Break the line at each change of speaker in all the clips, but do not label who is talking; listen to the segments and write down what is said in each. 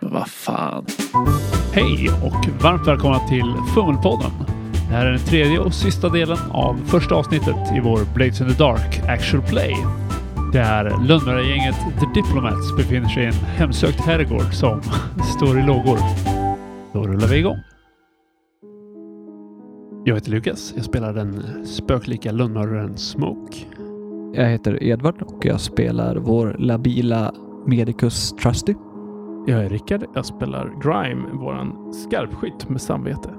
Vad fan.
Hej och varmt välkomna till Fummelpodden. Det här är den tredje och sista delen av första avsnittet i vår Blades in the Dark Actual Play. Där lönnmördargänget The Diplomats befinner sig i en hemsökt herrgård som står i lågor. Då rullar vi igång. Jag heter Lukas. Jag spelar den spöklika lönnmördaren Smoke.
Jag heter Edvard och jag spelar vår labila Medicus Trusty.
Jag är Rickard. Jag spelar Grime, våran skarpskytt med samvete.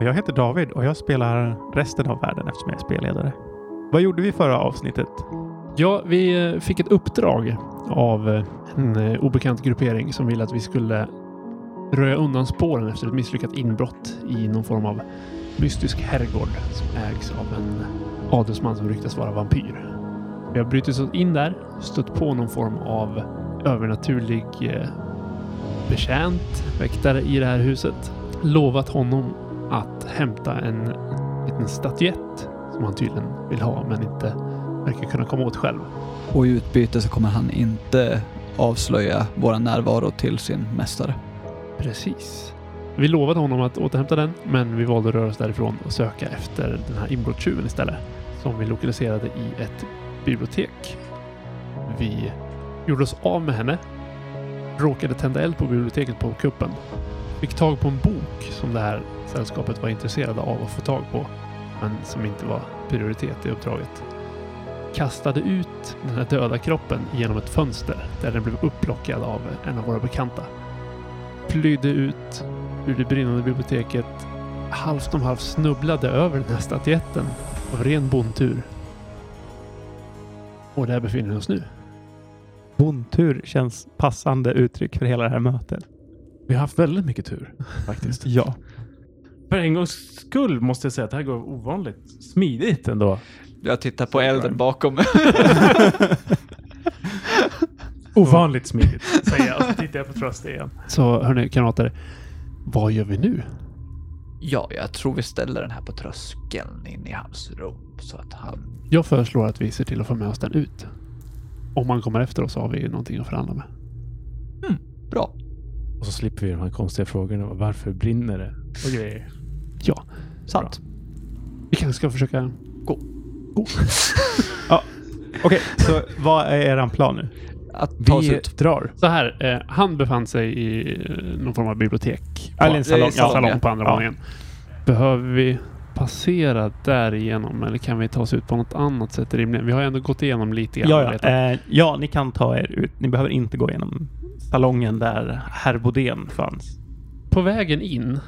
Jag heter David och jag spelar resten av världen eftersom jag är spelledare. Vad gjorde vi i förra avsnittet?
Ja, vi eh, fick ett uppdrag av eh, en eh, obekant gruppering som ville att vi skulle röja undan spåren efter ett misslyckat inbrott i någon form av mystisk herrgård som ägs av en adelsman som ryktas vara vampyr. Vi har brutit oss in där, stött på någon form av övernaturlig eh, betjänt, väktare i det här huset. Lovat honom att hämta en liten statyett som han tydligen vill ha men inte verkar kunna komma åt själv.
Och i utbyte så kommer han inte avslöja våra närvaro till sin mästare.
Precis. Vi lovade honom att återhämta den, men vi valde att röra oss därifrån och söka efter den här inbrottstjuven istället. Som vi lokaliserade i ett bibliotek. Vi gjorde oss av med henne. Råkade tända eld på biblioteket på kuppen. Fick tag på en bok som det här sällskapet var intresserade av att få tag på. Men som inte var prioritet i uppdraget. Kastade ut den här döda kroppen genom ett fönster där den blev upplockad av en av våra bekanta flydde ut ur det brinnande biblioteket. Halvt om halvt snubblade över den här statyetten av ren bondtur. Och där befinner vi oss nu.
Bondtur känns passande uttryck för hela det här mötet.
Vi har haft väldigt mycket tur faktiskt.
Ja.
För en gångs skull måste jag säga att det här går ovanligt smidigt ändå.
Jag tittar på elden bakom.
Ovanligt smidigt, säger jag. Och så tittar jag på Trusty igen.
Så hörni kamrater, vad gör vi nu?
ja, jag tror vi ställer den här på tröskeln in i hans rum så att han...
Jag föreslår att vi ser till att få med oss den ut. Om han kommer efter oss har vi ju någonting att förhandla med.
Bra.
Och så slipper vi de här konstiga frågorna. Varför brinner det? Och grejer.
Ja,
Sant.
vi kanske ska försöka...
Okej, så vad är eran plan nu?
Att ta oss
Vi
ut.
drar.
Så här, eh, han befann sig i eh, någon form av bibliotek.
Eller en salong.
det är salong,
salong
ja.
på andra
Ja.
våningen. Behöver vi passera därigenom eller kan vi ta oss ut på något annat sätt rimligen? Vi har ju ändå gått igenom lite grann.
Ja,
vet
ja.
jag.
Eh, ja, ni kan ta er ut. Ni behöver inte gå igenom salongen där herr Bodén fanns.
På vägen in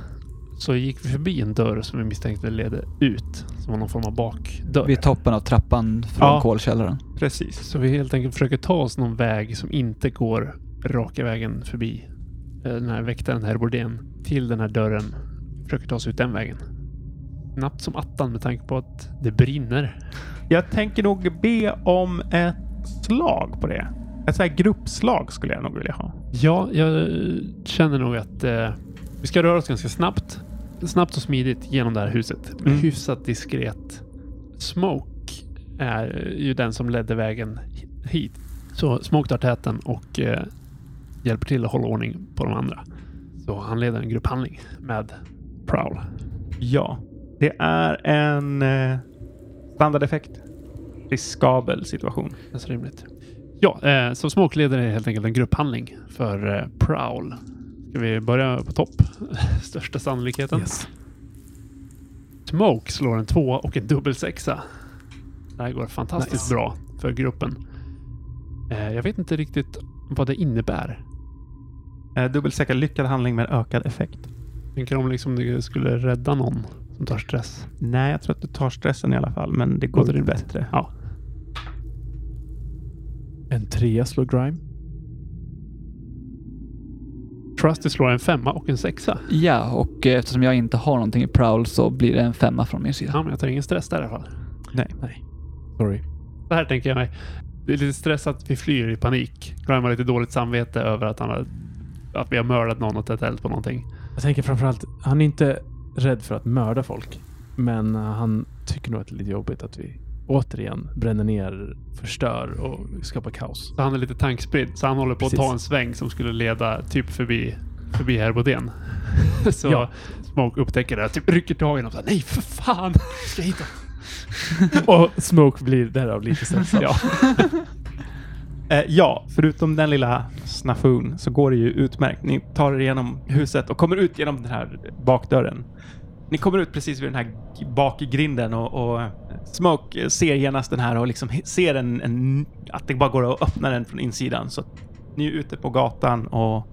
så gick vi förbi en dörr som vi misstänkte ledde ut. Som var någon form av bakdörr.
Vid toppen av trappan från
Ja.
kolkällaren.
Precis.
Så vi helt enkelt försöker ta oss någon väg som inte går raka vägen förbi eh, den här väktaren, herr Bordén, till den här dörren. Försöker ta oss ut den vägen. Knappt som attan med tanke på att det brinner.
Jag tänker nog be om ett slag på det. Ett så här gruppslag skulle jag nog vilja ha.
Ja, jag eh, känner nog att eh, vi ska röra oss ganska snabbt. Snabbt och smidigt genom det här huset.
Mm.
Hyfsat diskret. Smoke är eh, ju den som ledde vägen hi- hit. Så Smoke tar täten och eh, hjälper till att hålla ordning på de andra. Så han leder en grupphandling med Prowl.
Ja, det är en eh, standardeffekt. Riskabel situation.
Känns rimligt. Ja, eh, så Smoke leder helt enkelt en grupphandling för eh, Prowl. Ska vi börja på topp? Största sannolikheten.
Yes.
Smoke slår en tvåa och en dubbelsexa. Det här går fantastiskt bra för gruppen. Eh, jag vet inte riktigt vad det innebär.
Eh, dubbelsäker lyckad handling med ökad effekt.
Tänker om liksom det skulle rädda någon som tar stress.
Nej, jag tror att du tar stressen i alla fall, men det går
Låter
ju
rimligt.
bättre.
Ja.
En trea slår Grime.
Trusty slår en femma och en sexa.
Ja, och eh, eftersom jag inte har någonting i prowl så blir det en femma från min sida.
Ja, men jag tar ingen stress där i alla fall.
Sorry.
Så här tänker jag mig. Det är lite stress att vi flyr i panik. Grime har lite dåligt samvete över att, han har, att vi har mördat någon och tänt eld på någonting.
Jag tänker framförallt, han är inte rädd för att mörda folk. Men eh, han tycker nog att det är lite jobbigt att vi återigen bränner ner, förstör och skapar kaos.
Så han är lite tankspridd. Så han håller på
Precis.
att ta en sväng som skulle leda typ förbi förbi Herbodén. Så
Ja.
Smoke upptäcker det och typ rycker tag i honom. och säger, Nej för fan! Ska jag hitta?
Och Smoke blir därav lite stressad.
Ja.
Eh, ja, förutom den lilla snafun så går det ju utmärkt. Ni tar er igenom huset och kommer ut genom den här bakdörren. Ni kommer ut precis vid den här g- bakgrinden och, och Smoke eh, ser genast den här och liksom he- ser en, en, att det bara går att öppna den från insidan. Så att ni är ute på gatan och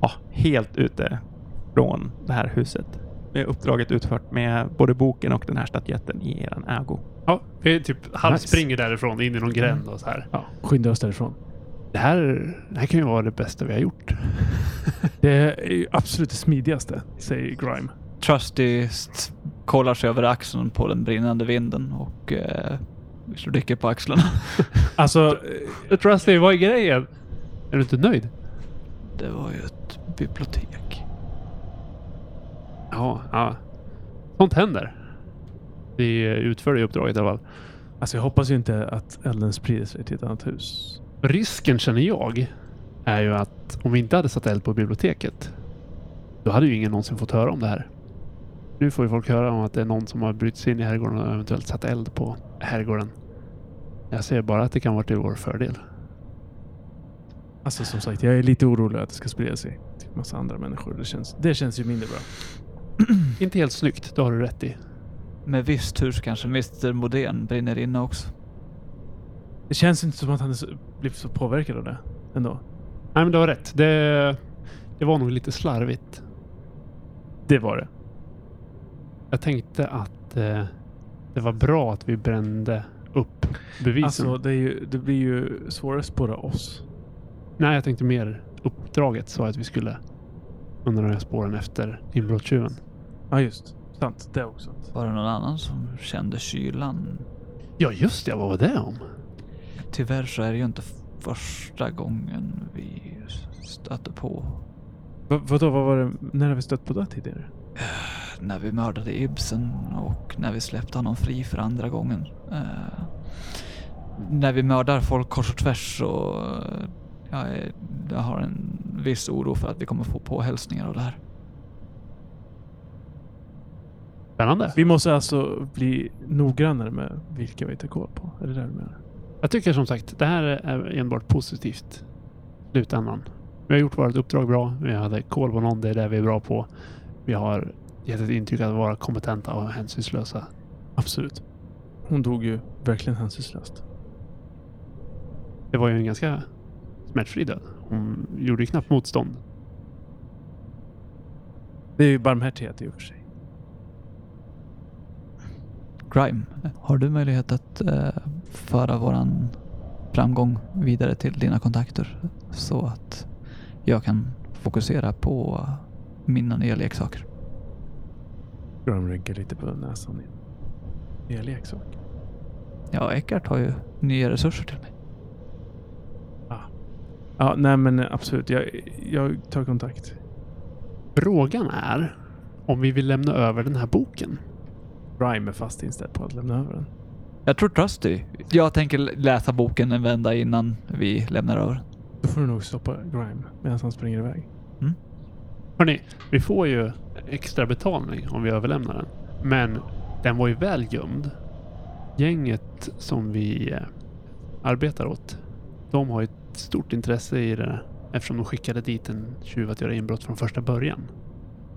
ja, helt ute från det här huset. Med uppdraget utfört med både boken och den här statyetten i er ägo.
Ja, vi typ halvspringer därifrån in i någon gränd och så här. Ja.
Skynda oss därifrån.
Det, här, det här kan ju vara det bästa vi har gjort.
Det är ju absolut det smidigaste, säger Grime.
Trusty st- kollar sig över axeln på den brinnande vinden och eh, slår dicke på axlarna.
Alltså,
Trusty, vad är grejen? Är du inte nöjd?
Det var ju ett bibliotek.
Ja, ja. Sånt händer. Vi utför det uppdraget i alla fall.
alltså jag hoppas ju inte att elden sprider sig till ett annat hus.
Risken känner jag är ju att om vi inte hade satt eld på biblioteket. Då hade ju ingen någonsin fått höra om det här. Nu får ju folk höra om att det är någon som har brutit sig in i herrgården och eventuellt satt eld på herrgården. Jag ser bara att det kan vara till vår fördel.
Alltså som sagt, jag är lite orolig att det ska sprida sig till massa andra människor. Det känns, det känns ju mindre bra.
Inte helt snyggt, det har du rätt i.
Med viss tur så kanske Mr Modén brinner inne också.
Det känns inte som att han är så, blir så påverkad av det ändå.
Nej, men du har rätt. Det, det var nog lite slarvigt.
Det var det.
Jag tänkte att eh, det var bra att vi brände upp bevisen.
Alltså, det, är ju, det blir ju svårare att spåra oss.
Nej, jag tänkte mer uppdraget sa att vi skulle undanröja spåren efter inbrottstjuven.
Ja, just. Sant. Det också.
Var det någon annan som kände kylan?
Ja, just det. Vad var det om?
Tyvärr så är det ju inte första gången vi stöter på
Va, vadå, vad var det? När har vi stött på det tidigare?
när vi mördade Ibsen och när vi släppte honom fri för andra gången. Eh, när vi mördar folk kors och tvärs så eh, jag, är, jag har en viss oro för att vi kommer få påhälsningar av det här.
Spännande.
Vi måste alltså bli noggrannare med vilka vi tar koll på. Är det det du menar?
Jag tycker som sagt, det här är enbart positivt. i Slutändan. Vi har gjort vårt uppdrag bra. Vi hade koll på någon. Det är det vi är bra på. Vi har gett ett intryck att vara kompetenta och hänsynslösa.
Absolut. Hon dog ju verkligen hänsynslöst.
Det var ju en ganska smärtfri död. Hon gjorde ju knappt motstånd.
Det är ju barmhärtighet i och för sig.
Grime, har du möjlighet att eh, föra våran framgång vidare till dina kontakter så att jag kan fokusera på mina nya leksaker?
Graham rynkar lite på näsan. igen. Det är leksak.
Ja, Eckart har ju nya resurser till mig.
Ja, nej men absolut. Jag, jag tar kontakt.
Frågan är om vi vill lämna över den här boken.
Grime är fast inställd på att lämna över den.
Jag tror Trusty. Jag tänker läsa boken en vända innan vi lämnar över den.
Då får du nog stoppa Grime medan han springer iväg.
Hörrni, vi får ju extra betalning om vi överlämnar den. Men den var ju väl gömd. Gänget som vi eh, arbetar åt, de har ju ett stort intresse i det eftersom de skickade dit en tjuv att göra inbrott från första början.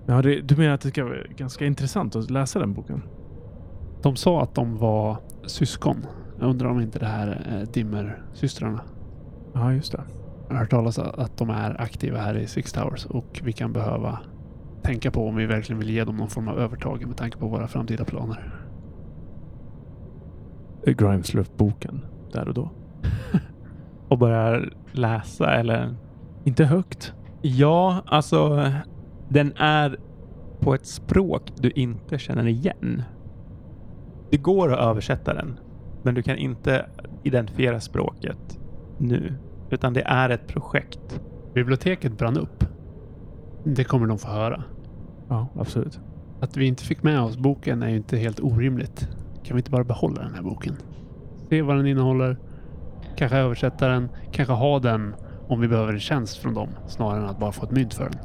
Ja, det, du menar att det ska vara ganska intressant att läsa den boken?
De sa att de var syskon. Jag undrar om inte det här eh, Dimmer-systrarna.
Ja, just det.
Jag har hört talas om att de är aktiva här i Six Towers och vi kan behöva tänka på om vi verkligen vill ge dem någon form av övertag med tanke på våra framtida planer.
Eh, Grime slår upp boken där och då.
Och börjar läsa eller
Inte högt.
Ja, alltså den är på ett språk du inte känner igen. Det går att översätta den, men du kan inte identifiera språket nu, utan det är ett projekt.
Biblioteket brann upp. Det kommer de få höra.
Ja, absolut.
Att vi inte fick med oss boken är ju inte helt orimligt. Kan vi inte bara behålla den här boken? Se vad den innehåller. Kanske översätta den. Kanske ha den om vi behöver en tjänst från dem snarare än att bara få ett mynt för den.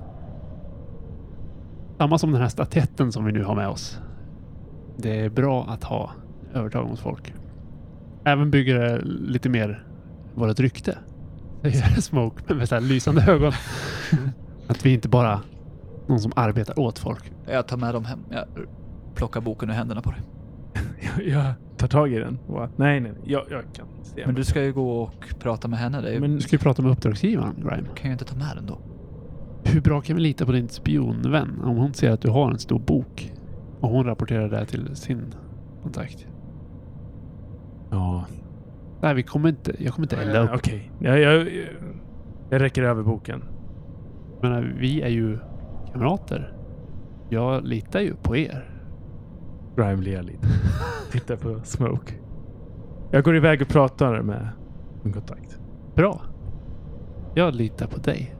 Samma som den här statyetten som vi nu har med oss. Det är bra att ha övertag mot folk. Även bygger det lite mer vårt rykte. Säger Smoke men med så här lysande ögon. Att vi inte bara någon som arbetar åt folk.
Jag tar med dem hem. Jag plockar boken ur händerna på dig.
Jag, jag tar tag i den. Och bara, nej, nej, nej, jag, jag kan se.
Men du ska ju gå och prata med henne. Det är ju-
Men-
Du ska ju prata med uppdragsgivaren, Grime.
kan jag inte ta med den då.
Hur bra kan vi lita på din spionvän om hon ser att du har en stor bok? Och hon rapporterar det här till sin kontakt.
Ja,
Nej, vi kommer inte... Jag kommer inte elda upp.
okej. Jag, jag, jag räcker över boken.
Jag menar, eh, vi är ju kamrater. Jag litar ju på er.
Grime ler lite. Tittar på Smoke. Jag går iväg och pratar med min kontakt.
Bra. Jag litar på dig.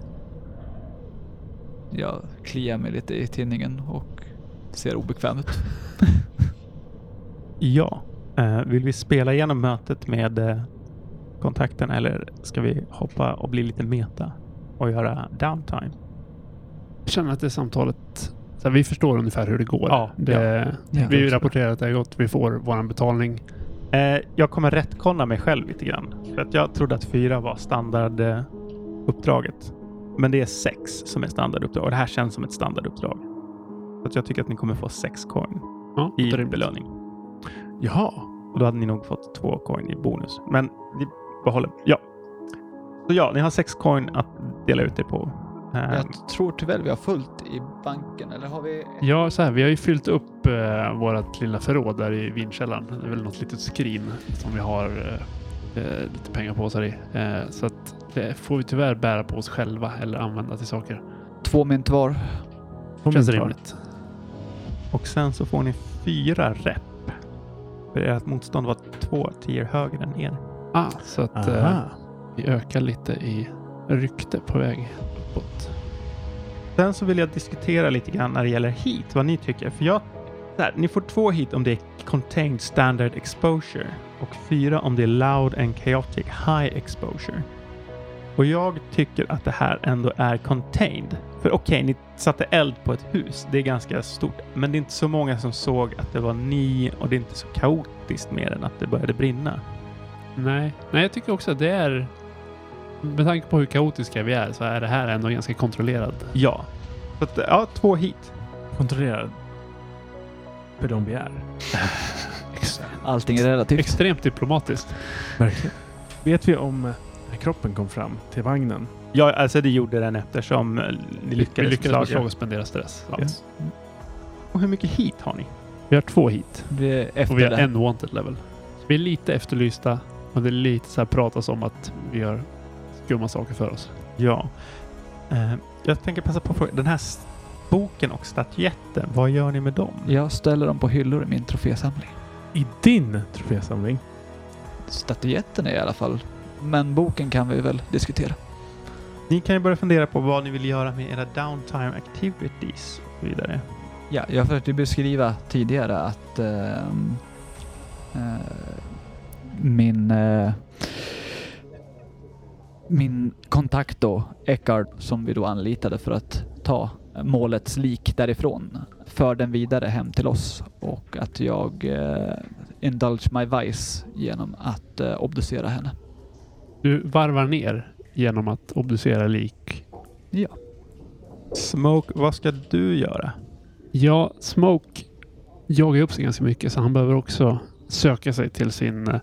Jag kliar mig lite i tinningen och ser obekväm ut.
Ja. Eh, vill vi spela igenom mötet med eh, kontakten eller ska vi hoppa och bli lite meta och göra downtime?
Jag känner att det samtalet... Så här, vi förstår ungefär hur det går.
Ja,
det,
ja.
vi
Ja.
rapporterar att det har gått. Vi får vår betalning.
Eh, jag kommer rättkonna mig själv lite grann. För att jag trodde att fyra var standarduppdraget. Eh, uppdraget. Men det är sex som är standarduppdrag. Och det här känns som ett standarduppdrag. Så att jag tycker att ni kommer få sex coin
Ja,
i
det är-
belöning.
Jaha.
Och då hade ni nog fått två coin i bonus. Men vi behåller... Ja. Så ja, ni har sex coin att dela ut er på. Ehm,
Jag tror tyvärr vi har fullt i banken, eller har vi?
Ja, så här, vi har ju fyllt upp eh, vårt lilla förråd där i vinkällaren. Det är väl något litet skrin som vi har eh, eh, lite pengar på oss här i. Eh, så att det får vi tyvärr bära på oss själva eller använda till saker.
Två mynt var.
Känns
Kommentar.
rimligt.
Och sen så får ni fyra rep. För ert motstånd var två tier högre än er.
Ah, så att eh,
Aha.
vi ökar lite i rykte på väg uppåt.
Sen så vill jag diskutera lite grann när det gäller heat, vad ni tycker. För jag, så här, ni får två heat om det är contained standard exposure och fyra om det är loud and chaotic high exposure. Och jag tycker att det här ändå är contained. För okej, ni satte eld på ett hus. Det är ganska stort, men det är inte så många som såg att det var ni och det är inte så kaotiskt mer än att det började brinna.
Nej. Nej, jag tycker också att det är... Med tanke på hur kaotiska vi är så är det här ändå ganska kontrollerad.
Ja, så att, ja, två heat.
Eh, Kontrollerad. För de vi är.
Allting är relativt.
Extremt diplomatiskt.
Verkligen. Vet vi om eh, när kroppen kom fram till vagnen?
Ja, alltså det gjorde den eftersom eh, ni lyckades,
vi lyckades med
beslaga.
slag och spendera stress. Ja.
Yes. Och hur mycket heat har ni?
Vi har två hit.
Det är efter
Och vi har
det.
en wanted level. Så vi är lite efterlysta och det är lite så här pratas om att vi gör skumma saker för oss.
Ja. Eh, jag tänker passa på att fråga, den här s- boken och statyetten, vad gör ni med dem?
Jag ställer dem på hyllor i min trofésamling.
I din trofésamling?
Statyetten är i alla fall. Men boken kan vi väl diskutera.
Ni kan ju börja fundera på vad ni vill göra med era downtime activities och så vidare.
Ja, jag försökte beskriva tidigare att ehm, eh, min eh, min kontakt då, Eckard, som vi då anlitade för att ta målets lik därifrån, för den vidare hem till oss och att jag eh, indulge my vice genom att eh, obducera henne.
Du varvar ner genom att obducera lik.
Ja.
Smoke, vad ska du göra?
Ja, Smoke jagar upp sig ganska mycket så han behöver också söka sig till sin eh,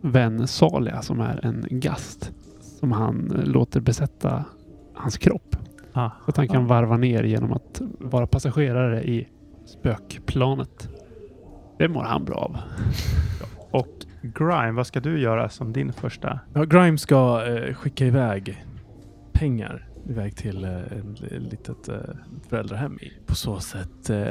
vän Salia som är en gast som han eh, låter besätta hans kropp.
Ah.
Så att han kan varva ner genom att vara passagerare i spökplanet. Det mår han bra av.
Och Grime, vad ska du göra som din första?
Ja, Grime ska eh, skicka iväg pengar iväg till eh, ett litet eh, föräldrahem. i. På så sätt eh,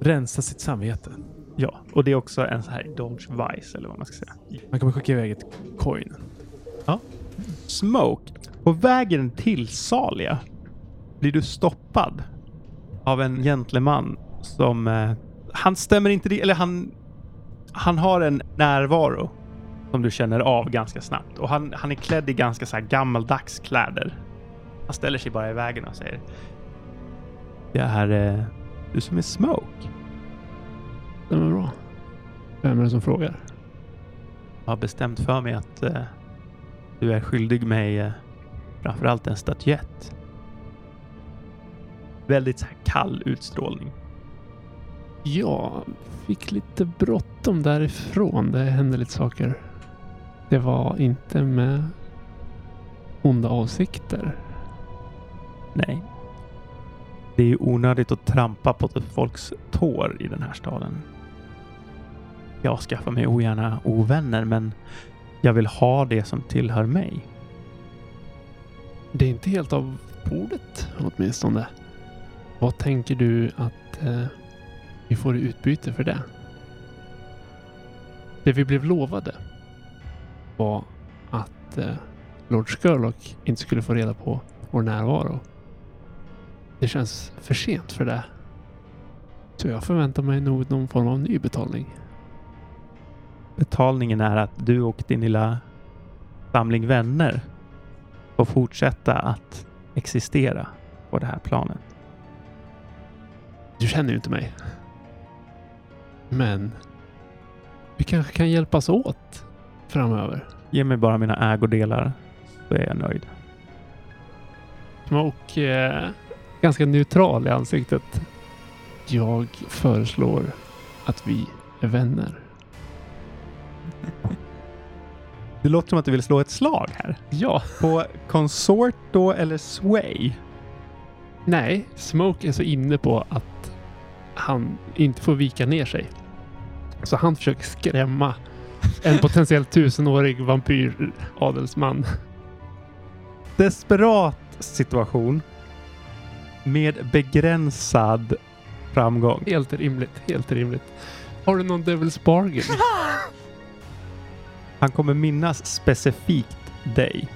rensa sitt samvete.
Ja, och det är också en sån här Dodge Vice eller vad man ska säga.
Man kommer skicka iväg ett coin.
Smoke, på vägen till Salia blir du stoppad av en gentleman som... Eh, han stämmer inte... di- Eller han... Han har en närvaro som du känner av ganska snabbt. Och han, han är klädd i ganska så här gammaldags kläder. Han ställer sig bara i vägen och säger Det är eh, du som är Smoke.
Den var bra. Vem är det som frågar?
Jag har bestämt för mig att eh, du är skyldig mig eh, framförallt en statyett. Väldigt så här kall utstrålning.
Ja, fick lite bråttom därifrån. Det hände lite saker. Det var inte med onda avsikter.
Nej. Det är ju onödigt att trampa på folks tår i den här staden. Jag skaffar mig ogärna ovänner, men jag vill ha det som tillhör mig.
Det är inte helt av bordet åtminstone. Vad tänker du att eh, vi får i utbyte för det? Det vi blev lovade var att eh, Lord Skurlock inte skulle få reda på vår närvaro. Det känns för sent för det. Så jag förväntar mig nog någon form av ny betalning.
Betalningen är att du och din lilla samling vänner får fortsätta att existera på det här planet.
Du känner ju inte mig. Men vi kanske kan hjälpas åt framöver.
Ge mig bara mina ägodelar så är jag nöjd.
Smoke eh, ganska neutral i ansiktet. Jag föreslår att vi är vänner.
Det låter som att du vill slå ett slag här.
Ja.
På konsort då eller sway?
Nej, Smoke är så inne på att han inte får vika ner sig. Så han försöker skrämma en potentiellt tusenårig vampyradelsman.
Desperat situation med begränsad framgång.
Helt rimligt, helt rimligt. Har du någon Devil's Bargain?
Han kommer minnas specifikt dig.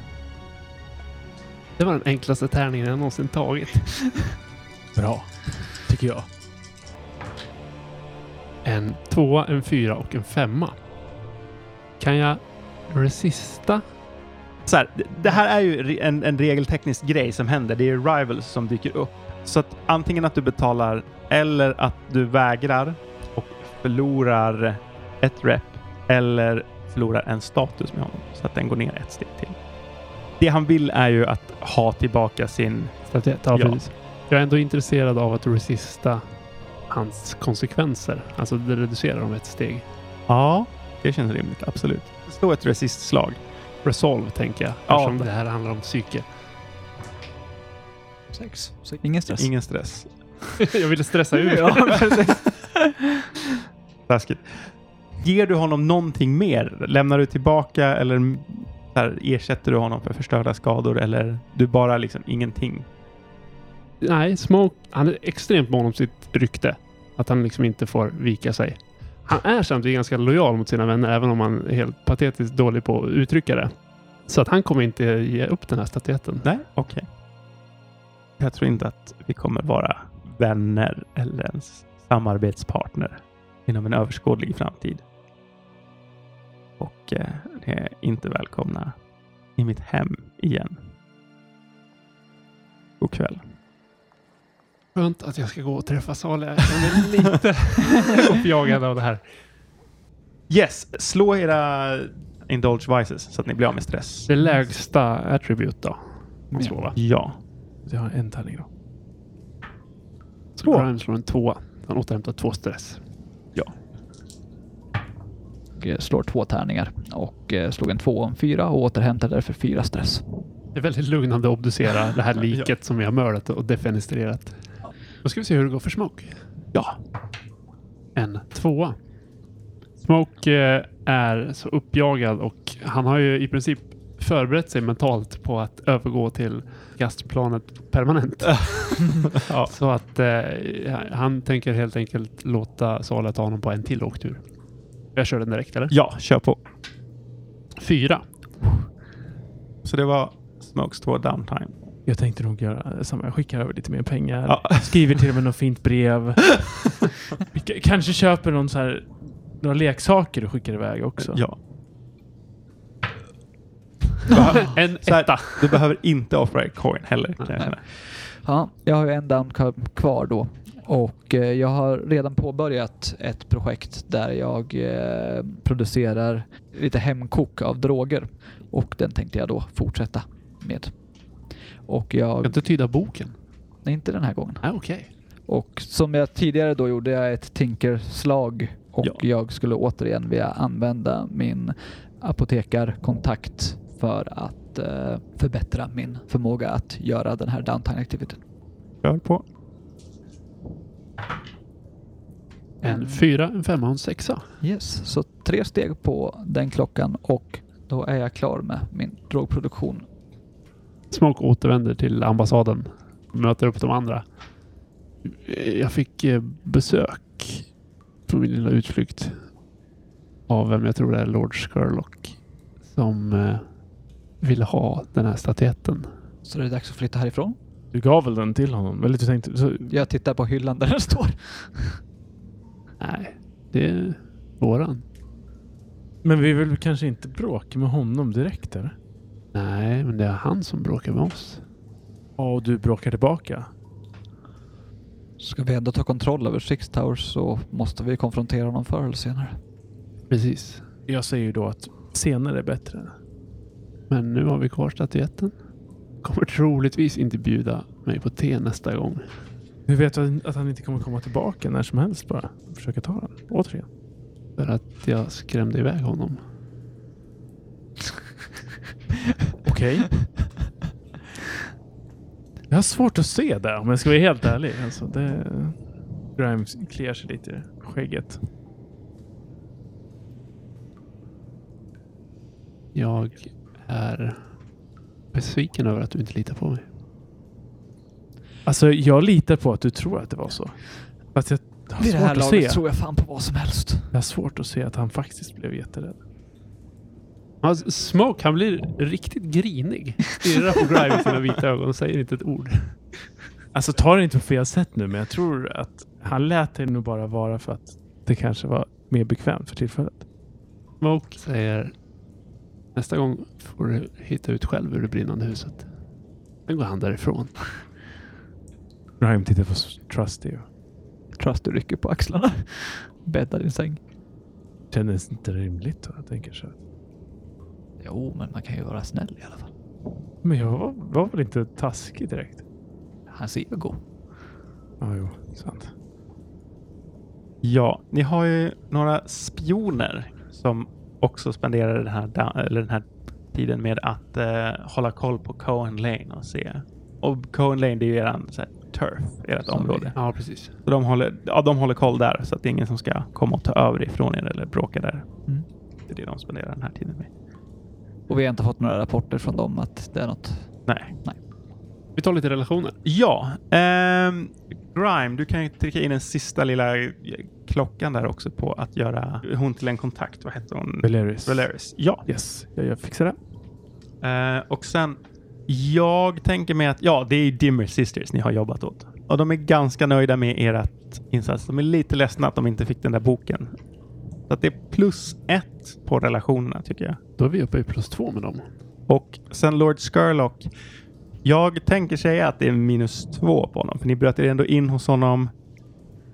Det var den enklaste tärningen jag någonsin tagit.
Bra, tycker jag.
En tvåa, en fyra och en femma. Kan jag resista?
Så här, det- det här är ju re- en, en regelteknisk grej som händer. Det är rivals som dyker upp. Så att antingen att du betalar eller att du vägrar och förlorar ett rep eller förlorar en status med honom så att den går ner ett steg till. Det han vill är ju att ha tillbaka sin...
Statyett? Ja,
Ja.
precis. Jag är ändå intresserad av att resista hans konsekvenser. Alltså det reducerar dem ett steg.
Ja, det känns rimligt. Absolut. Slå ett resistslag.
Resolve tänker jag.
Ja.
Eftersom det här handlar om psyke.
Sex. Ingen stress.
Ingen stress.
jag ville stressa ut.
Taskigt. Ger du honom någonting mer? Lämnar du tillbaka eller mm, så här, ersätter du honom för förstörda skador eller du bara liksom ingenting?
Nej, Smoke, han är extremt mån om sitt rykte. Att han liksom inte får vika sig. Han är samtidigt ganska lojal mot sina vänner, även om han är helt patetiskt dålig på att uttrycka det. Så att han kommer inte ge upp den här statyetten.
Nej, okej. Jag tror inte att vi kommer vara vänner eller ens samarbetspartner inom en överskådlig framtid. Och eh, ni är inte välkomna i mitt hem igen. God kväll.
Skönt att jag ska gå och träffa Salia. Jag känner mig lite uppjagad av det här.
Yes, slå era indulge vices så att ni blir av med stress.
Det lägsta attribut då. Man
Ja.
slår va?
Ja.
Jag har en tärning då.
Så Prime slår en tvåa. Han återhämtar två stress.
och eh, slår två tärningar och eh, slog en två och en fyra och återhämtar därför fyra stress.
Det är väldigt lugnande att obducera det här liket som vi har mördat och defenestrerat. Då ska vi se hur det går för Smoke.
Ja.
En tvåa. Smoke eh, är så uppjagad och han har ju i princip förberett sig mentalt på att övergå till gastplanet permanent.
ja.
Så att eh, han tänker helt enkelt låta Sala ta honom på en till åktur. Jag kör den direkt eller?
Ja, kör på.
Fyra.
Så det var Smokes 2 downtime.
Jag tänkte nog göra samma. Jag skickar över lite mer pengar.
Ja.
Skriver till och med något fint brev. Vi k- Kanske köper någon så här, några leksaker och skickar iväg också.
Ja.
En
Så här,
etta.
du behöver inte offra en coin heller. Kan jag
Nej.
känna.
Ja, jag har ju en downcome kvar då och eh, jag har redan påbörjat ett projekt där jag eh, producerar lite hemkok av droger och den tänkte jag då fortsätta med. Och
Jag
jag,
kan inte tyda boken.
nej, inte den här gången.
Ah, Okej.
Och som jag tidigare då gjorde jag ett tinkerslag och
Ja.
jag skulle återigen vilja använda min apotekarkontakt för att eh, förbättra min förmåga att göra den här downtime-aktiviteten.
Kör på.
En fyra, en femma och en sexa.
Yes, så tre steg på den klockan och då är jag klar med min drogproduktion.
Smoke återvänder till ambassaden. Möter upp de andra. Eh, Jag fick eh, besök på min lilla utflykt av vem jag tror det är, Lord Sherlock. Som eh, ville ha den här statyetten.
Så det är dags att flytta härifrån.
Du gav väl den till honom? Eller du tänkte... Så,
Jag tittar på hyllan där den står.
Nej, det är våran.
men vi vill kanske inte bråka med honom direkt eller?
Nej, men det är han som bråkar med oss.
Ja, och du bråkar tillbaka.
Ska vi ändå ta kontroll över Six Towers så måste vi konfrontera honom förr eller senare.
Precis.
Jag säger ju då att senare är bättre.
Men nu har vi kvar statyetten. Kommer troligtvis inte bjuda mig på te nästa gång.
Du vet att att han inte kommer komma tillbaka när som helst bara. Försöka ta den. Återigen.
För att jag skrämde iväg honom.
Okej. Jag har svårt att se det om jag ska vara helt ärlig. Alltså, det... Grimes kliar sig lite i skägget.
Jag är besviken över att du inte litar på mig.
Alltså jag litar på att du tror att det var så. Fast jag har,
Vid det här
svårt att, se.
laget tror jag fan på vad som helst.
jag har svårt att se att han faktiskt blev jätterädd.
Alltså, Smoke, han blir riktigt grinig. Stirrar på Grime i sina vita ögon och säger inte ett ord.
Alltså ta det inte på fel sätt nu men jag tror att han lät det nog bara vara för att det kanske var mer bekvämt för tillfället.
Smoke säger nästa gång får du hitta ut själv ur det brinnande huset. Sen går han därifrån.
Grime tittar på s- Trusty och
Trust du rycker på axlarna. Bäddar din säng.
kändes inte rimligt. Och jag tänker så här.
Jo, men man kan ju vara snäll i alla fall.
Men jag var, var väl inte taskig direkt?
Hans ego.
Ja, jo, sant.
Ja, ni har ju några spioner som också spenderar den här, da- eller den här tiden med att eh, hålla koll på Cohen Lane och se. Och Cohen Lane, det är ju eran så här, turf, ert
Som
område.
Ja, precis.
Så de, håller, ja, de håller koll där så att det är ingen som ska komma och ta över ifrån er eller bråka där.
Mm.
Det är det de spenderar den här tiden med.
Och vi har inte fått några rapporter från dem att det är något.
Nej.
Vi tar lite relationer.
Ja, ehm, Grime, du kan ju trycka in den sista lilla eh, klockan där också på att göra hon till en kontakt. Vad heter hon?
Valeris.
Valeris. Ja.
Yes, jag, jag fixar det.
Eh, och sen, jag tänker mig att, ja, det är ju Dimmer Sisters ni har jobbat åt. Och de är ganska nöjda med ert insats. De är lite ledsna att de inte fick den där boken. Så att det är plus ett på relationerna tycker jag.
Då är vi uppe i plus två med dem.
Och sen Lord Skurlock. Jag tänker säga att det är minus två på honom, för ni bröt er ändå in hos honom,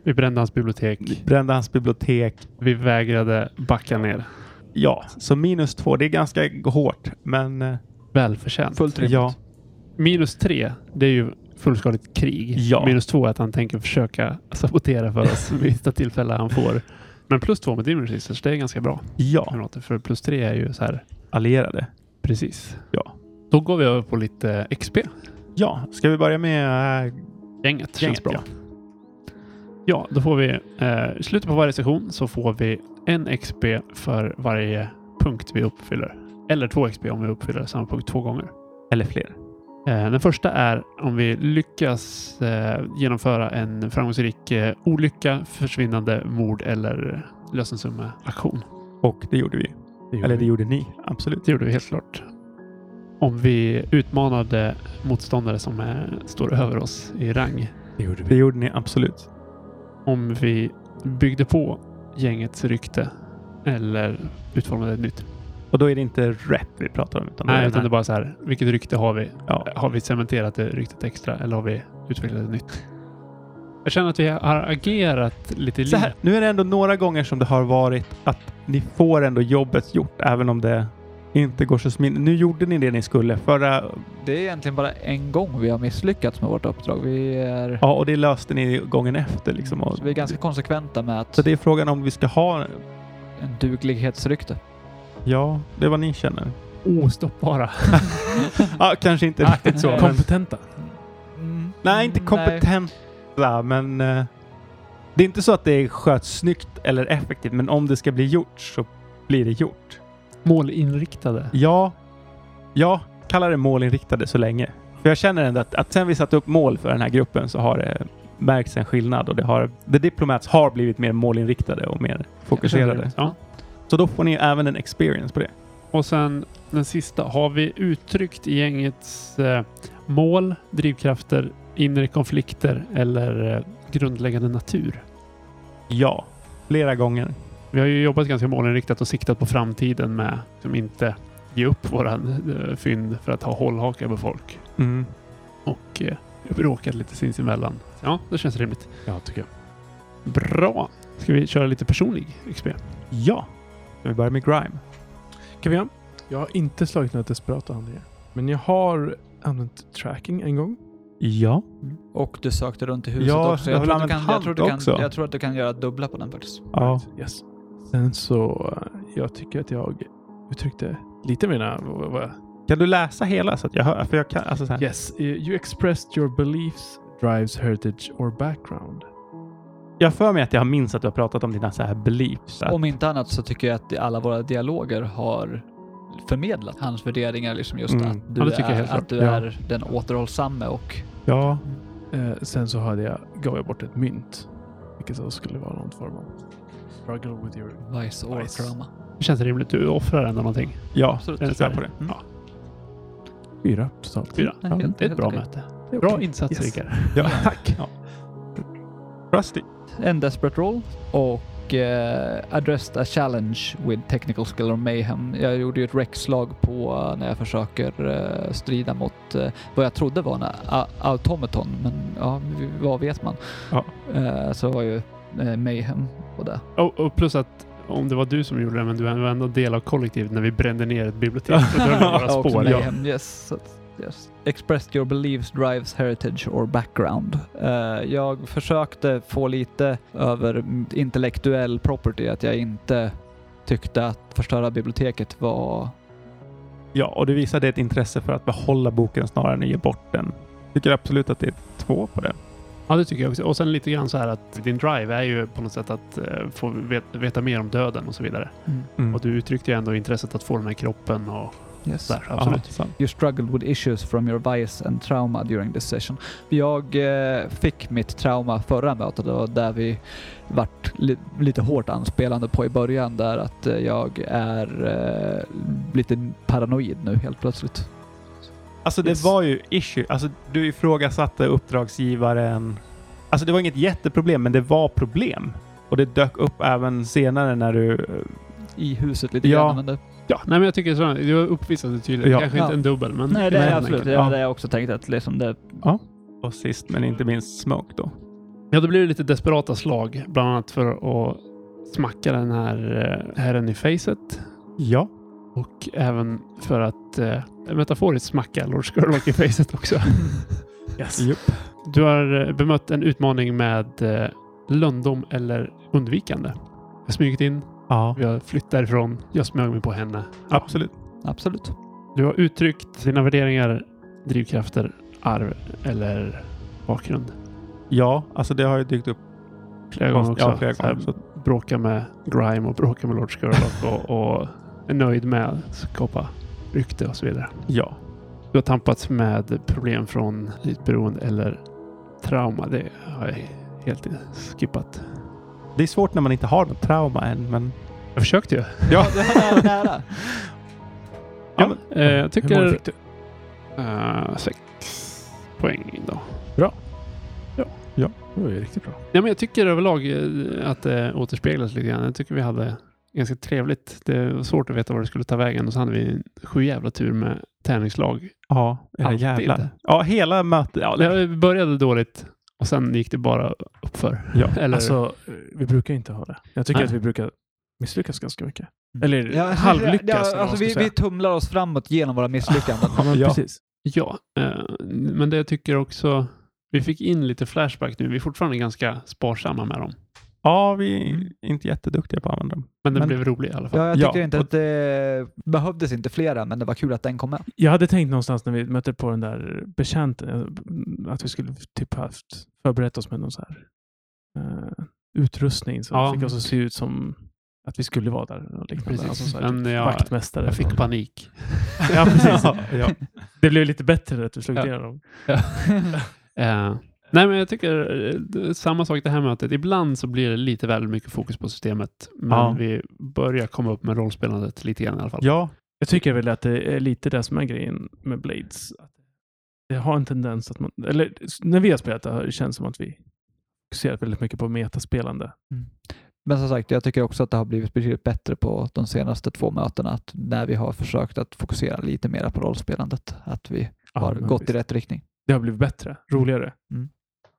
Vi brände hans bibliotek.
brände hans bibliotek.
Vi vägrade backa ner.
Ja, så minus två, det är ganska hårt, men eh,
Välförtjänt.
Fullt rimligt.
ja.
Minus tre, det är ju fullskaligt krig.
Ja.
Minus två är att han tänker försöka sabotera för oss vid minsta tillfälle han får. Men plus två med Dimmer Sisters, det är ganska bra.
Ja,
kamrater, För plus tre är ju så här,
allierade.
precis.
Ja.
Då går vi över på lite XP.
Ja, ska vi börja med eh,
Gänget,
Gänget,
känns bra. Ja. då får vi eh, i slutet på varje session så får vi en XP för varje punkt vi uppfyller. Eller två XP om vi uppfyller samma punkt två gånger.
eller fler?
Eh, Den första är om vi lyckas eh, genomföra en framgångsrik eh, olycka, försvinnande, mord eller lösensummeaktion.
Och det gjorde vi.
det
Eller det gjorde ni, absolut.
Det gjorde vi helt klart. Om vi utmanade motståndare som eh, står över oss i rang.
det gjorde
Det
vi.
gjorde ni absolut.
Om vi byggde på gängets rykte eller utformade ett nytt.
Och då är det inte rep vi pratar om. Utan då är
Nej,
det
utan det är bara så här. Vilket rykte har vi?
Ja.
Har vi cementerat det ryktet extra eller har vi utvecklat ett nytt? Jag känner att vi har agerat lite i
Så här,
linje.
nu är det ändå några gånger som det har varit att ni får ändå jobbet gjort, även om det inte går så smidigt. Nu gjorde ni det ni skulle förra...
Det är egentligen bara en gång vi har misslyckats med vårt uppdrag. Vi är,
Ja, och det löste ni gången efter liksom. Och,
så vi är ganska konsekventa med att
så det är frågan om vi ska ha...
en duglighetsrykte.
Ja, det är vad ni
Mm.
känner.
Ostoppbara.
Ja, kanske inte
Ah.
Nej.
riktigt så. Kom,
Kompetenta.
Mm,
nej, inte kompetenta, men... eh, det är inte så att det sköts snyggt eller effektivt, men om det ska bli gjort så blir det gjort.
Målinriktade.
Ja, ja, kalla det målinriktade så länge. För jag känner ändå att, att sen vi satte upp mål för den här gruppen så har det märkts en skillnad och det har, The Diplomats har blivit mer målinriktade och mer fokuserade.
Ja.
Så då får ni även en experience på det.
Och sen den sista. Har vi uttryckt gängets eh, mål, drivkrafter, inre konflikter eller eh, grundläggande natur?
Ja, flera gånger.
Vi har ju jobbat ganska målinriktat och siktat på framtiden med som inte ge upp våra eh, fynd för att ha hållhakar på folk.
Mm.
Och eh, bråkat lite sinsemellan. Så Ja, det känns rimligt.
Ja, tycker jag.
Bra. Ska vi köra lite personlig XP?
Ja, vi börjar med Grime.
Kan vi göra? Jag har inte slagit några desperata handlingar. Men jag har använt tracking en gång.
Ja.
Och du sökte runt i huset
Ja,
också.
jag har
tror att
väl
du
använt
kan, jag tror att du
hand
kan,
också.
Jag tror att du kan göra dubbla på den faktiskt.
ja.
Right, Yes. Sen så, eh, jag tycker att jag uttryckte lite mina... vad- vad-
Kan du läsa hela så att jag hör? För jag kan, alltså så här.
Yes, eh, you expressed your beliefs, drives, heritage or background.
Jag har för mig att jag minns att du har pratat om dina så här beliefs. Att,
Om inte annat så tycker jag att alla våra dialoger har förmedlat hans värderingar. Liksom just
Mm.
att du
Ja, det tycker jag
är,
helt
att
klart.
du
Ja.
är den återhållsamme och
ja.
Eh, sen så hade jag, gav jag bort ett mynt. Vilket då skulle vara någon form av struggle with your...
vice or
Vice.
trauma.
Det känns rimligt. Du offrar ändå någonting.
Ja,
Absolut.
jag tror på det.
Ja.
Fyra totalt.
Fyra.
Nej,
Ja,
helt-
Det är ett
helt
bra
okej.
möte.
Det är
Bra
okej.
insats,
Yes.
Rickard.
Ja, tack. Ja. Rusty.
En desperate roll och eh, addressed a challenge with technical skill or mayhem. Jag gjorde ju ett rexslag på eh, när jag försöker eh, strida mot eh, vad jag trodde var en a- automaton, men ja, v- vad vet man?
Ja.
Eh, så var ju eh, mayhem på det.
Och, och plus att om det var du som gjorde det, men du var ändå del av kollektivet när vi brände ner ett bibliotek. Så drar vi några
Ja, också
spår. Ja.
mayhem, yes. Så att- yes. Expressed your beliefs, drives, heritage or background. Eh, jag försökte få lite över mm, intellektuell property, att jag inte tyckte att förstöra biblioteket var...
Ja, och du visade ett intresse för att behålla boken snarare än att ge bort den. Tycker absolut att det är två på det.
ja, det tycker jag också. Och sen lite grann så här att din drive är ju på något sätt att eh, få vet, veta mer om döden och så vidare.
Mm.
Och du uttryckte ju ändå intresset att få den här kroppen och
Yes.
sådär. Absolut.
Ja, sant.
You struggled with issues from your bias and trauma during this session. Jag eh, fick mitt trauma förra mötet och där vi vart li- lite hårt anspelande på i början där att eh, jag är eh, lite paranoid nu helt plötsligt.
Alltså det
Yes.
var ju issue. Alltså du ifrågasatte uppdragsgivaren. Alltså det var inget jätteproblem, men det var problem. Och det dök upp även senare när du... eh,
I huset lite
Ja.
grann. Men det,
Ja, nej, men jag tycker så. Du har uppvisat det tydligt.
Ja.
Kanske
Ja.
inte en dubbel, men...
nej, det
men
är
en
absolut.
enkel.
Det var det jag också tänkte att liksom det...
Och sist men inte minst Smoke då.
Ja, då blir det lite desperata slag. Bland annat för att smacka den här eh, herren i facet.
Ja.
Och även för att eh, metaforiskt smacka Lord Skurlock i facet också.
Yes.
Jupp.
Du har eh, bemött en utmaning med eh, löndom eller undvikande. Jag har smugit in,
Ja.
vi har flytt därifrån, jag smög mig på henne.
Absolut.
Absolut.
Du har uttryckt dina värderingar, drivkrafter, arv eller bakgrund.
Ja, alltså det har ju dykt upp
Flera gånger också.
ja, flera
Så här,
gånger. Så,
bråka med Grime och bråka med Lord Skurlock och, och är nöjd med att skapa rykte och så vidare.
ja.
Du har tampats med problem från ditt beroende eller trauma. Det har jag helt skippat.
Det är svårt när man inte har något trauma än, men...
Jag försökte ju.
Ja.
Det var nära, nära.
Ja, eh, jag
Hur många
tycker...
fick du?
eh, sex poäng då.
Det var ju riktigt bra.
Ja, men jag tycker överlag eh, att det återspeglas lite grann. Jag tycker vi hade ganska trevligt. Det var svårt att veta var det skulle ta vägen och så hade vi en sju jävla tur med tärningslag.
Ja, era
Alltid.
jävlar. Ja, hela mötet. Ja, det,
Det började dåligt och sen gick det bara uppför.
Ja,
Eller,
Alltså, vi brukar inte ha det. Jag tycker
Nej.
att vi brukar misslyckas ganska mycket. Eller
Ja,
halvlyckas.
ja,
eller vad man
alltså,
ska
vi,
säga.
vi tumlar oss framåt genom våra misslyckanden.
ja, men
Ja.
precis.
Ja, eh, men det jag tycker också... Vi fick in lite flashback nu. Vi är fortfarande ganska sparsamma med dem.
ja, vi är inte jätteduktiga på att använda dem.
Men den
Men-
blev rolig i alla fall.
Ja, jag
Ja,
tycker inte
och-
att det behövdes inte flera, men det var kul att den kom med.
Jag hade tänkt någonstans när vi mötte på den där betjänten eh, att vi skulle typ haft förberett oss med någon så här eh, utrustning som
Ja.
fick oss att se ut som att vi skulle vara där. Och liknande.
Precis.
Alltså, så här, typ,
Men jag-
vaktmästare.
Jag fick panik.
Ja, precis.
Ja, ja.
Det blev lite bättre att vi slog
Ja.
ner dem.
Eh, nej, men jag tycker eh, det- samma sak det här mötet. Ibland så blir det lite väl mycket fokus på systemet. Men
Ja.
vi börjar komma upp med rollspelandet lite grann i alla fall.
ja,
Jag tycker väl att det är lite det som är grejen med Blades. Att Det har en tendens att man, eller s- när vi har spelat det har det känns som att vi fokuserar väldigt mycket på metaspelande.
Men som sagt, jag tycker också att det har blivit betydligt bättre på de senaste två mötena. Att när vi har försökt att fokusera lite mer på rollspelandet, att vi har
men
gått
visst.
i rätt riktning.
Det har blivit bättre, roligare.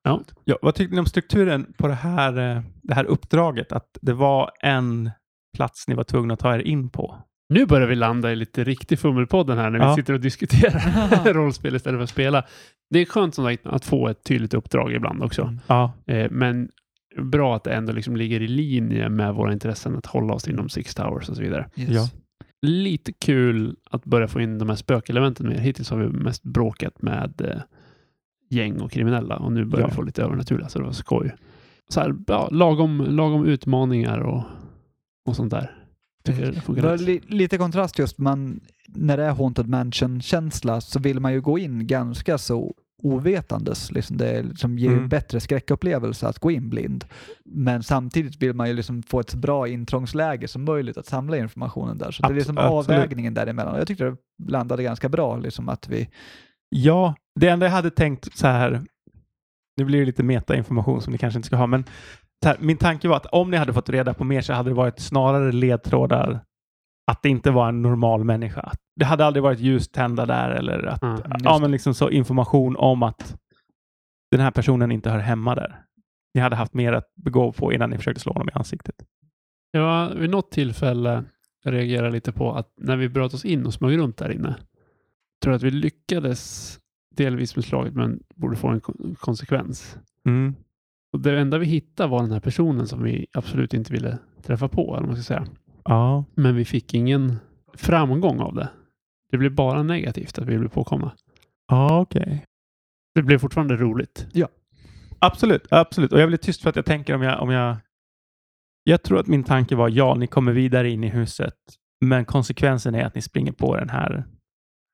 Ja, vad tyckte ni om strukturen på det här, eh, det här uppdraget? Att det var en plats ni var tvungna att ta er in på?
Nu börjar vi landa i lite riktig fummelpodden här när vi
Ja.
sitter och diskuterar rollspel istället för att spela. Det är skönt som sagt att få ett tydligt uppdrag ibland också.
Mm.
Ja,
Eh, men bra att det ändå liksom ligger i linje med våra intressen att hålla oss inom Six Towers och så vidare.
Yes.
Ja.
Lite kul att börja få in de här spökelementen mer. Hittills har vi mest bråkat med eh, gäng och kriminella och nu börjar
Ja.
vi få lite övernaturliga så det var skoj. Så här, ja, lagom, lagom utmaningar och, och sånt där. Tycker jag det
Det var
funkar rätt.
li- lite kontrast just, men när det är Haunted Mansion-känsla så vill man ju gå in ganska så ovetandes. Liksom det är liksom ger
Mm.
en bättre skräckupplevelse att gå in blind. Men samtidigt vill man ju liksom få ett så bra intrångsläge som möjligt att samla informationen där. Så det är
Abs-
liksom
absolut.
avvägningen däremellan. Jag tyckte det landade ganska bra, liksom att vi...
ja, det enda jag hade tänkt så här, nu blir det lite metainformation som ni kanske inte ska ha, men så här, min tanke var att om ni hade fått reda på mer så hade det varit snarare ledtrådar att det inte var en normal människa. Att Det hade aldrig varit ljus tända där eller att,
Mm,
ja
just
men liksom så information om att den här personen inte hör hemma där. Ni hade haft mer att begå på innan ni försökte slå honom i ansiktet.
Det var vid något tillfälle jag reagerade lite på att när vi bröt oss in och smög runt där inne, tror jag att vi lyckades delvis med slaget men borde få en kon- konsekvens.
Mm.
Och det enda vi hittade var den här personen som vi absolut inte ville träffa på, eller vad man ska säga.
Ja.
Men vi fick ingen framgång av det. Det blev bara negativt att vi blev påkomna.
Ja, okej.
Det blev fortfarande roligt.
Absolut, absolut. Och jag blir tyst för att jag tänker om jag, om jag... Jag tror att min tanke var ja, ni kommer vidare in i huset, men konsekvensen är att ni springer på den här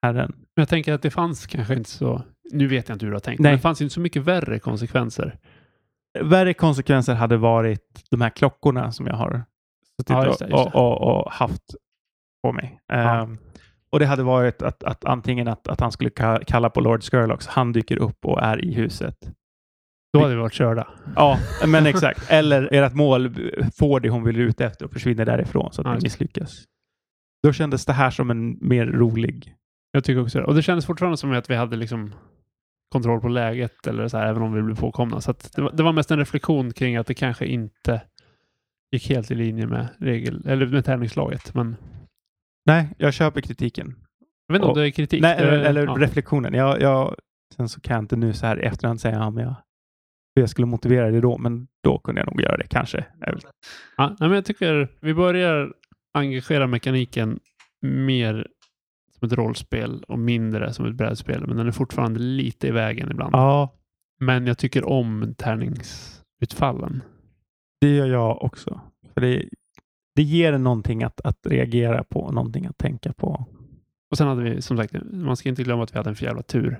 herren.
Men jag tänker att det fanns kanske inte så... Nu vet jag inte hur du har tänkt,
Nej.
men det fanns ju inte så mycket värre konsekvenser.
Värre konsekvenser hade varit de här klockorna som jag har suttit
Ja, just det, just det.
och, och, och, och haft på mig. Ehm, och det hade varit att, att antingen att, att han skulle ka- kalla på Lord Skurlox, han dyker upp och är i huset.
Då hade vi varit körda.
Ja, men exakt. Eller ert mål får det hon vill ut efter och försvinner därifrån så att
Ja,
ni
just det.
misslyckas. Då kändes det här som en mer rolig...
Jag tycker också det. Och det kändes fortfarande som att vi hade liksom kontroll på läget, eller så här, även om vi blev påkomna. Så att det, var, det var mest en reflektion kring att det kanske inte gick helt i linje med, regel, eller med tärningslaget. Men
Nej, jag köper kritiken.
jag vet inte om
Och-
det är kritik.
Nej,
Det-
eller, eller
ja.
reflektionen. Jag, jag, sen så kan jag inte nu så här i efterhand säga om jag, hur jag skulle motivera det då, men då kunde jag nog göra det kanske. Jag vill-
Ja, nej, men jag tycker vi börjar engagera mekaniken mer som ett rollspel och mindre som ett brädspel. Men den är fortfarande lite i vägen ibland.
Ja,
Men jag tycker om tärningsutfallen.
det gör jag också. För det, det ger en någonting att, att reagera på, någonting att tänka på.
Och sen hade vi som sagt, man ska inte glömma att vi hade en för jävla tur.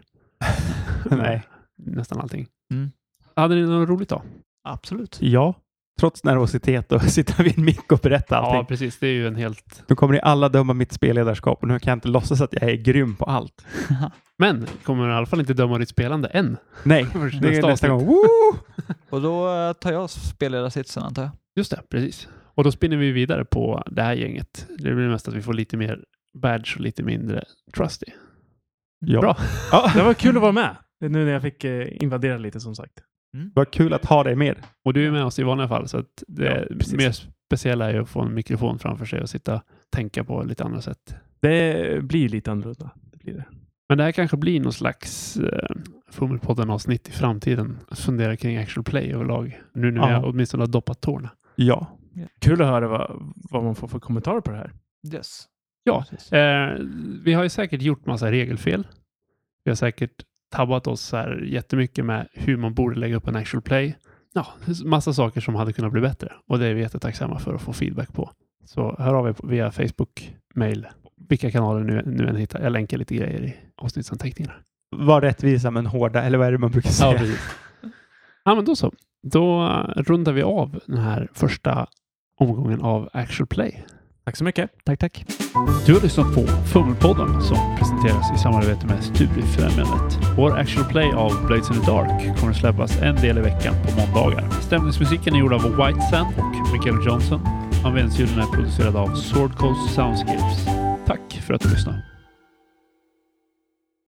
Nej.
Nästan allting.
Mm.
Hade ni något roligt då?
Absolut.
Ja, trots nervositet och sitta vid en mick och berätta allting.
Ja, precis. Det är ju en helt...
Nu kommer ni alla döma mitt spelledarskap och nu kan jag inte låtsas att jag är grym på allt.
Men kommer i alla fall inte döma ditt spelande än.
Nej,
Först
det är
nästa
nästa
avsnitt.
gång. Woo!
Och då eh, tar jag spelledarsitsen antar jag.
Just det, precis. Och då spinner vi vidare på det här gänget. Det blir mest att vi får lite mer badge och lite mindre trusty.
Ja.
Bra.
Ja,
Det var kul att vara med. Det är Nu när jag fick eh, invadera lite som sagt.
vad kul att ha dig med.
Och du är med oss i vanliga fall, så att det
Ja, precis.
mer speciella är ju att få en mikrofon framför sig och sitta och tänka på lite andra sätt.
Det blir lite annorlunda. Det blir det.
Men det här kanske blir någon slags eh, Fummelpodden-avsnitt i framtiden. Att Fundera kring actual play överlag. Nu när
Ja.
jag åtminstone har doppat tårna.
Ja.
Kul att höra vad, vad man får för kommentarer på det här.
Yes.
Ja.
Precis.
Eh, vi har ju säkert gjort massa regelfel. Vi har säkert tabbat oss så här jättemycket med hur man borde lägga upp en actual play. Ja, massa saker som hade kunnat bli bättre och det är vi jättetacksamma för att få feedback på. Så hör av er på- via Facebook, mail, vilka kanaler nu, nu än hittar. Jag länkar lite grejer i avsnittsanteckningarna.
Var rättvisa men hårda, eller vad är det man brukar säga?
precis. ja, men då så. Då eh, rundar vi av den här första omgången av actual play.
Tack så mycket.
Tack, tack.
Du har lyssnat på Fummelpodden som presenteras i samarbete med Studiefrämjandet. Vår Action Play av Blades in the Dark kommer att släppas en del i veckan på måndagar. Stämningsmusiken är gjord av White Sand och Michael Johnson. Användningsljuden är producerad av Sword Coast Soundscapes. Tack för att du lyssnade.